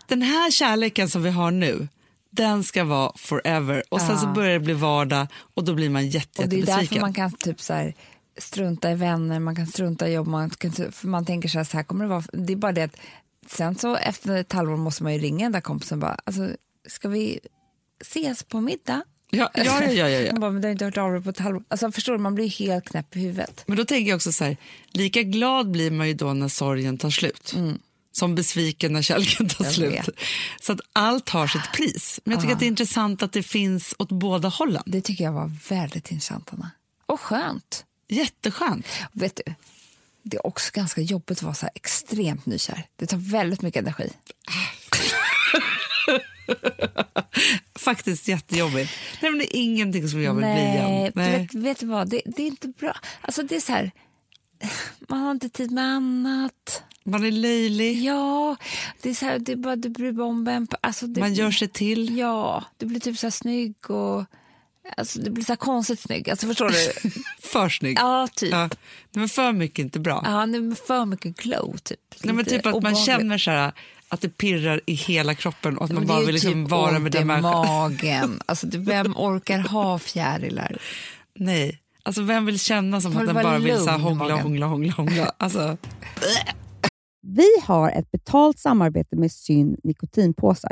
Den här kärleken som vi har nu, den ska vara forever. Och sen så börjar det bli vardag och då blir man jätte, Och det är därför jättebesviken. man kan typ så här, strunta i vänner, man kan strunta i jobb, man, kan, typ- för man tänker så här, så här kommer det vara. Det är bara det att sen så efter ett halvår måste man ju ringa den där kompisen och bara, alltså, ska vi ses på middag? Ja, ja, ja, ja, ja. Hon bara, men du har inte hört av dig på ett halvår. Alltså förstår du, man blir ju helt knäpp i huvudet. Men då tänker jag också så här, lika glad blir man ju då när sorgen tar slut. Som besviken när kärleken tar Mm. Jag slut. vet. Ah. Så att allt har sitt pris. Men jag tycker att det är intressant att det finns åt båda hållen. Det tycker jag var väldigt intressant, Anna. Och skönt. Jätteskönt. Vet du, det är också ganska jobbigt att vara så här extremt nykär. Det tar väldigt mycket energi. Faktiskt jättejobbigt. Nej, men det är ingenting som jag vill bli igen. du Vet, vet du vad? Det, det är inte bra. Alltså det är så här, man har inte tid med annat. Man är löjlig, Ja, det är så här, det är bara, du blir bomben. på- Alltså det, man gör sig till. Ja, du blir typ så här snygg och... Alltså det blir så här konstigt snygg. Alltså förstår du? För snygg. ja, typ. Ja. Nej, men för mycket är inte bra. Ja, det är för mycket glow typ. Nej, men Lite typ att man obehagligt. känner så här, att det pirrar i hela kroppen och att man Men det bara är ju vill liksom typ vara med ont den i människan. magen. Alltså, det- vem orkar ha fjärilar? Nej. Alltså vem vill känna som Man att den vill vara bara vill så här lugn i hångla, magen. hångla, hångla, hångla. Alltså, Vi har ett betalt samarbete med Syn nikotinpåsar.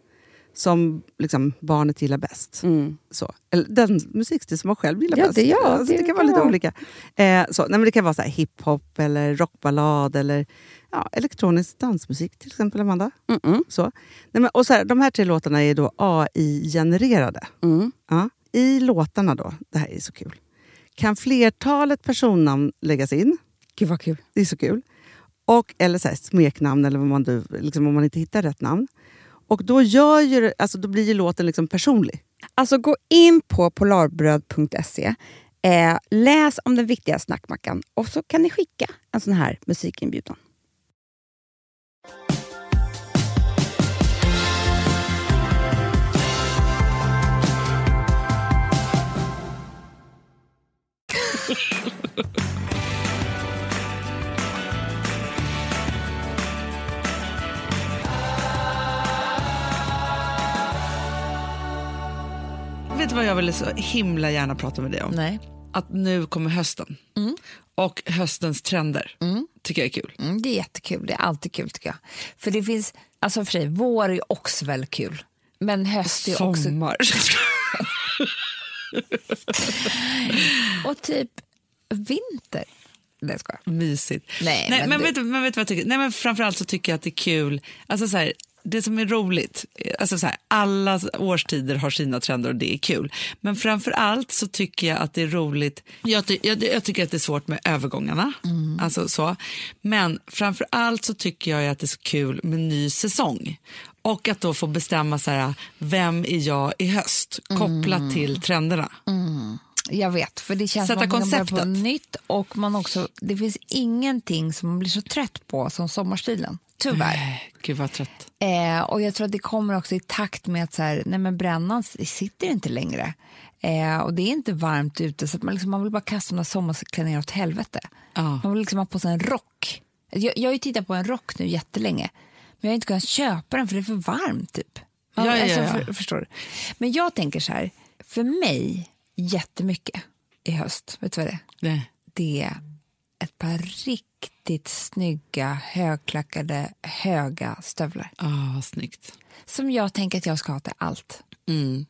som liksom, barnet gillar bäst. Så. Eller den musikstil som man själv gillar Mm. Ja, bäst. det- ja, alltså, det, det kan vara kan lite vara. olika. Eh, så. Nej, men det kan vara så här hiphop, eller rockballad eller ja, elektronisk dansmusik till exempel, Amanda. Så. Nej, men, och så här, de här tre låtarna är då AI-genererade. Mm. Ja. I låtarna då, det här är så kul, kan flertalet personnamn läggas in. Gud vad kul. Det är så kul. Och, eller så här, smeknamn, eller vad man, du- liksom, om man inte hittar rätt namn. Och då, gör ju, det- alltså, då blir ju låten liksom personlig. Alltså gå in på polarbröd.se, eh, läs om den viktiga snackmackan och så kan ni skicka en sån här musikinbjudan. Vet du vad jag ville så himla gärna prata med dig om? Nej. Att nu kommer hösten. Mm. Och höstens trender tycker jag är kul. Mm, det är jättekul. Det är alltid kul tycker jag. För det finns, alltså för sig, vår är ju också väldigt kul. Men höst är också... Sommar. Och typ vinter. Nej, jag skojar. Mysigt. Nej, Nej, men men, du- vet, du- men vet du vad jag tycker? Nej, men framförallt så tycker jag att det är kul. Alltså så här, det som är roligt, alltså så här, alla årstider har sina trender och det är kul. Men framför allt så tycker jag att det är roligt, jag, ty, jag, jag tycker att det är svårt med övergångarna, alltså så. Men framför allt så tycker jag ju att det är så kul med ny säsong. Och att då få bestämma så här, vem är jag i höst, kopplat till trenderna. Jag vet, för det känns Sätta som att man kan börja på konceptet. nytt och man också, det finns ingenting som man blir så trött på som sommarstilen. Tyvärr. Nej, Äh, Gud vad trött. Eh, och jag tror att det kommer också i takt med att så här, nej men brännan sitter inte längre. Eh, och det är inte varmt ute så att man, liksom, man vill bara kasta sina sommarklänningar åt helvete. Ja. Man vill liksom ha på sig en rock. Jag, jag har ju tittat på en rock nu jättelänge. Men jag har inte kunnat köpa den för det är för varmt typ. Man- Ja, ja, ja. För, förstår du? Men jag tänker så här, för mig jättemycket i höst, vet du vad det är? Nej. det är ett par riktigt snygga högklackade höga stövlar. Ah, vad snyggt. Som jag tänker att jag ska ha till allt. Mm.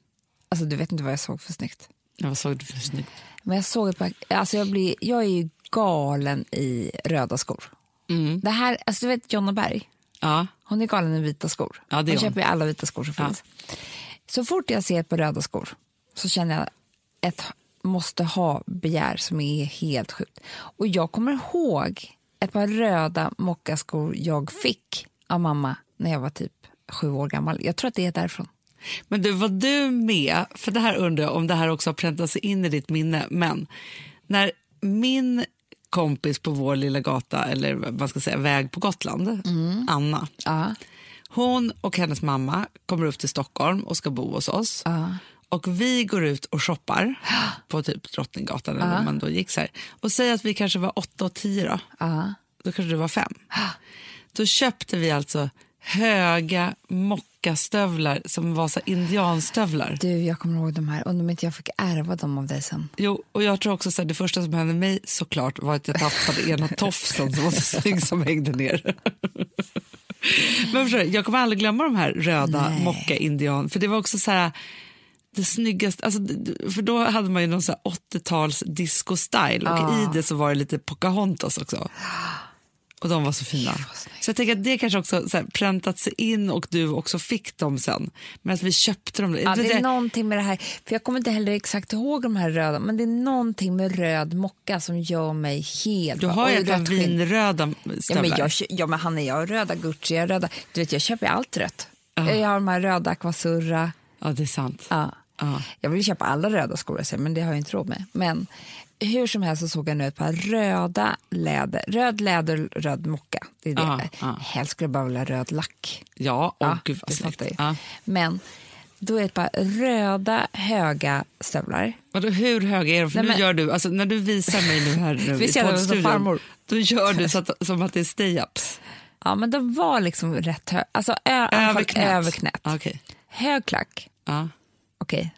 Alltså du vet inte vad jag såg för snyggt. Ja, vad såg du för snyggt? Men jag såg ett par, alltså jag, blir, jag är ju galen i röda skor. Mm. Det här, alltså du vet Jonna Berg, Ja, hon är galen i vita skor. Ja, det är hon hon. köper ju alla vita skor som finns. Så fort jag ser på röda skor så känner jag ett måste ha-begär som är helt sjukt. Och jag kommer ihåg ett par röda mockaskor jag fick av mamma när jag var typ sju år gammal. Jag tror att det är därifrån. Men du, var du med, för det här undrar jag om det här också har präntat sig in i ditt minne, men när min kompis på vår lilla gata, eller vad man ska säga, väg på Gotland, Anna, Ja. hon och hennes mamma kommer upp till Stockholm och ska bo hos oss. Och vi går ut och shoppar på typ Drottninggatan eller uh. man då gick så här. Och säg att vi kanske var åtta och tio då. Då kanske du var fem. Då köpte vi alltså höga mockastövlar som var så här indianstövlar. Du, jag kommer ihåg de här. Undrar om inte jag fick ärva dem av dig sen. Jo, och jag tror också så här, det första som hände mig såklart var att jag tappade ena tofsen som var så snygg som hängde ner. Men förstår du, jag kommer aldrig glömma de här röda mocka-indian, för det var också så här det snyggaste, alltså, d- d- för då hade man ju någon så här 80-tals disco-style och i Ah. det så var det lite Pocahontas också. Och de var så fina. Så jag tänker att det kanske också så här, präntat sig in och du också fick dem sen. Men att vi köpte dem. Ja, det är någonting med det här, för jag kommer inte heller exakt ihåg de här röda, men det är någonting med röd mocka som gör mig helt... du har ju Och ett par rött skinn. vinröda Ja stövlar. men, jag, kö- ja, men han är jag har röda Gucci, jag har röda... Du vet, jag köper ju allt rött. Jag har de här röda Aquasurra. Ja, det är sant. Ja. Ja. Jag vill köpa alla röda skor, jag säger, men det har jag inte råd med. Men hur som helst så såg jag nu ett par röda läder, röd läder, röd mocka. Det är det. Ja, ja. Helst skulle jag bara vilja ha röd lack. Ja, åh gud vad du fattar snyggt. ju. Ja. Men då är det ett par röda höga stövlar. Vadå, hur höga är de? För Nej, nu men- gör du, alltså, när du visar mig nu här nu Visst gör jag det som poddstudion, farmor? då gör du så att, som att det är stay-ups. Ja, men de var liksom rätt höga. Alltså ö- över knät. Över knät. Okej. Hög klack. Ja. Okej.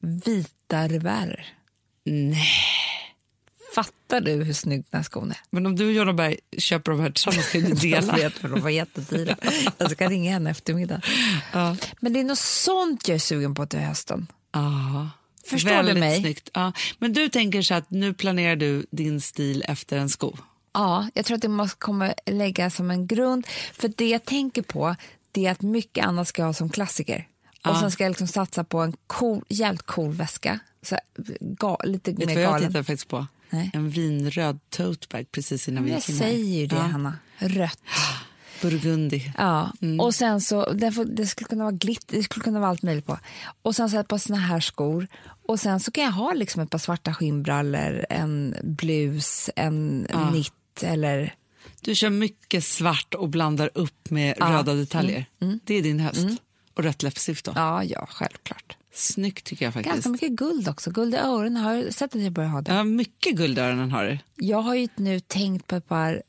Vita revärer. Nej. Fattar du hur snygg den här skon är? Men om du och Jonna Berg köper de här tillsammans kan ni dela. Jag vet, för de var jättedyra. Jag ska ringa henne eftermiddag. Ja. Men det är något sånt jag är sugen på till hösten. Ja. Förstår du Väldigt mig? Snyggt. Ja. Men du tänker så att nu planerar du din stil efter en sko. Ja, jag tror att det måste komma lägga som en grund. För det jag tänker på det är att mycket annat ska jag ha som klassiker. Och sen ska jag liksom satsa på en cool, jävligt cool väska. Så, här, ga, lite Vet du mer vad jag galen. tittar faktiskt på? Nej. En vinröd tote bag precis innan vi Jag gick in här. säger ju det, Ja. Hanna. Rött. Burgundy. Ja, Mm. och sen så, det, får, det skulle kunna vara glitter, det skulle kunna vara allt möjligt på. Och sen så ett par såna här skor. Och sen så kan jag ha liksom ett par svarta skinnbrallor, en blus, en nitt eller... Du kör mycket svart och blandar upp med röda detaljer. Det är din höst. Och rött läppstift då. Mm. Ja, ja, självklart. Snyggt tycker jag faktiskt. Ganska mycket guld också. Guld i öronen, har du sett att jag börjar ha det? Ja, mycket guldöronen har du. Jag har ju nu tänkt på ett par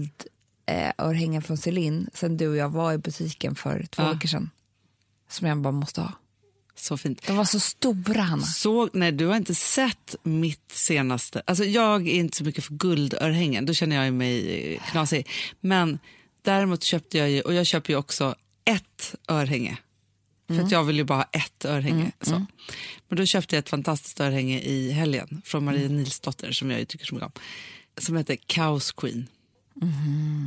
guldörhängen från Celine sen du och jag var i butiken för två Ja. veckor sedan. Som jag bara måste ha. Så fint. De var så stora, Hanna. Så, nej, du har inte sett mitt senaste... Alltså, jag är inte så mycket för guldörhängen, då känner jag ju mig eh, knasig. Men däremot köpte jag ju, och jag köper ju också ett örhänge. För att jag vill ju bara ha ett örhänge. så. Men då köpte jag ett fantastiskt örhänge i helgen från Maria Nilsdotter som jag ju tycker så mycket om. Som heter Chaos Queen.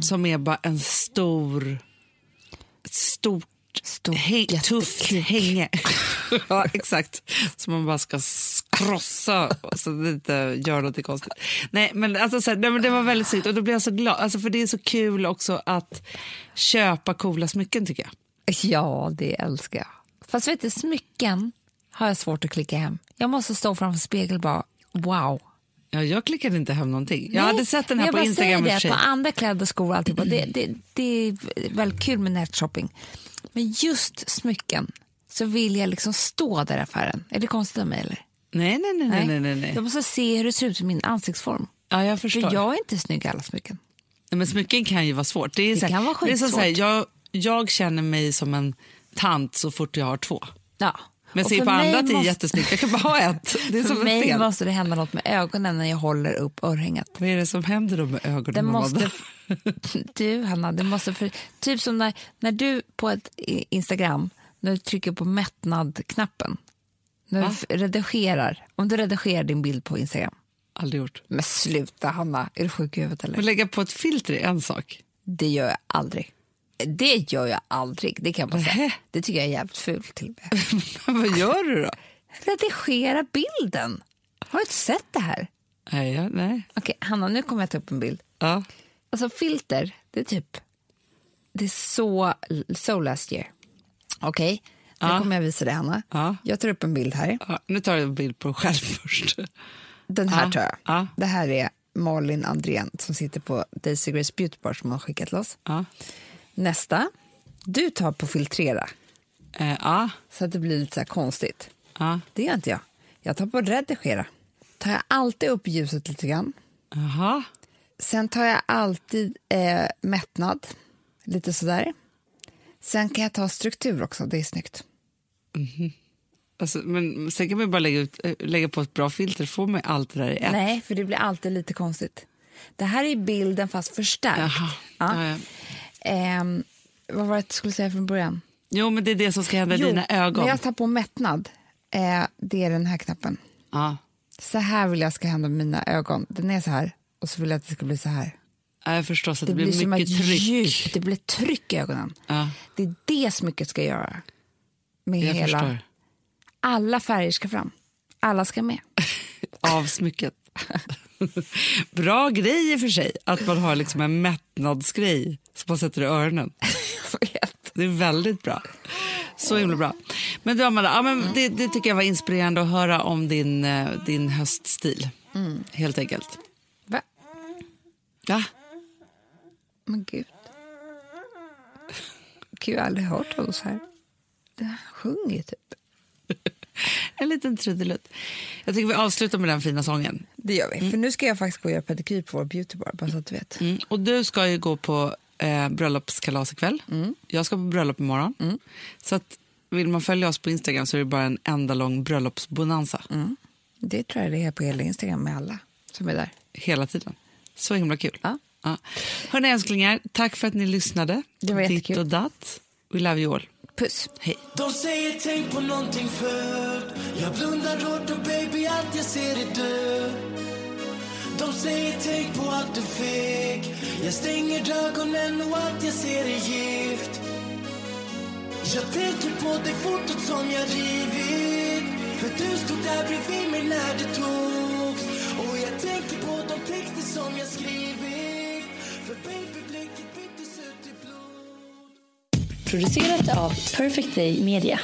Som är bara en stor stort, Stort, häng, tufft jättekuk. hänge. ja, exakt. Som man bara ska s- krossa och så att det inte gör något konstigt. Nej, men, alltså, så här, nej, men det var väldigt snyggt och då blev jag så glad. Alltså, för det är så kul också att köpa coola smycken tycker jag. Ja, det älskar jag. Fast vet du, smycken har jag svårt att klicka hem. Jag måste stå framför spegeln och bara, wow. Ja, jag klickade inte hem någonting. Jag Nej, hade sett den här men på jag bara Instagram i och för säger sig. Mm. det, på andra kläder, skor och alltihopa. Det, det, det är väldigt kul med nätshopping. Men just smycken så vill jag liksom stå där i affären. Är det konstigt av mig eller? Nej, nej, nej, nej, nej, nej, Jag måste se hur det ser ut i min ansiktsform. Ja, jag förstår. För jag är inte snygg i alla smycken. Nej, men smycken kan ju vara svårt. Det, är så här, kan vara det är som så här, skitsvårt. jag, jag känner mig som en tant så fort jag har två. Ja. Men Och ser för på andra mig att det är måste- jättesnyggt. Jag kan bara ha ett. Det är För som ett mig fel. måste det hända något med ögonen när jag håller upp örhänget. Vad är det som händer då med ögonen? Det mamma? måste... Du, Hanna, det måste... För, typ som när, när du på ett i- Instagram, när du trycker på mättnad-knappen, när du f- redigerar, om du redigerar din bild på Instagram. Aldrig gjort. Men sluta, Hanna, är du sjuk i huvudet eller? Men lägga på ett filter är en sak. Det gör jag aldrig. Det gör jag aldrig, det kan jag bara säga. Det tycker jag är jävligt fult till och med. Vad gör du då? Redigera bilden! Har du inte sett det här? Nej, ja, nej. Okej, Hanna, nu kommer jag ta upp en bild. Ja. Alltså filter, det är typ... Det är så, so last year. Okej, nu kommer jag visa dig, Hanna. Ja. Jag tar upp en bild här. Ja, nu tar jag en bild på själv först. Den här Ja, tar jag. ja. Det här är Malin Andrén som sitter på Daisy Grace Beauty Bar som har skickat till oss. Ja. Nästa. Du tar på filtrera, Eh, ja, så att det blir lite så här konstigt. ja. Det gör inte jag. Jag tar på redigera. Tar jag alltid upp ljuset lite grann. Jaha. Sen tar jag alltid eh, mättnad, lite sådär. Sen kan jag ta struktur också, det är snyggt. Alltså, men sen kan man ju bara lägga, ut, eh, lägga på ett bra filter. Får man allt det där i ett? Nej, för det blir alltid lite konstigt. Det här är bilden fast förstärkt. Jaha. Ja. Ja, ja. Ehm, vad var det jag skulle säga från början? Jo, men det är det som ska hända i dina ögon. när jag tar på mättnad, eh, det är den här knappen. Ja. Så här vill jag ska hända med mina ögon. Den är så här och så vill jag att det ska bli så här. Ja, jag förstår. Så att Det, det, blir, som ett mycket tryck. djup, det blir tryck i ögonen. Ja, Det är det smycket ska göra. Med jag hela... förstår. Alla färger ska fram. Alla ska med. Av smycket. Bra grej i och för sig, att man har liksom en mättnadsgrej som man sätter i öronen. Det är väldigt bra. Så himla bra. Men du, Amanda, ja, men det, det tycker jag var inspirerande att höra om din, eh, din höststil. Helt enkelt. Va? Ja, Men gud. Gud, jag har aldrig hört honom så här. Det här sjunger ju typ. en liten trudelutt. Jag tycker vi avslutar med den fina sången. Det gör vi. För nu ska jag faktiskt gå och göra pedikyr på vår beautybar, bara så att du vet. Mm. Och du ska ju gå på eh, bröllopskalas ikväll. Mm. Jag ska på bröllop imorgon. Så att vill man följa oss på Instagram så är det bara en enda lång bröllopsbonanza Mm. Det tror jag det är på hela Instagram med alla som är där. hela tiden. Så himla kul. Ja. Ja. Hörni älsklingar, tack för att ni lyssnade. Det var Ditt jättekul. och datt. We love you all. Puss! Hej. De säger tänk på någonting först Jag blundar hårt och baby allt jag ser är du De säger tänk på allt du fick Jag stänger ögonen och allt jag ser är gift Jag tänker på det fotot som jag rivit För du stod där bredvid mig när det togs Och jag tänker på de texter som jag skrivit För babyblicket byttes ut i blod Producerat av Perfect Day Media.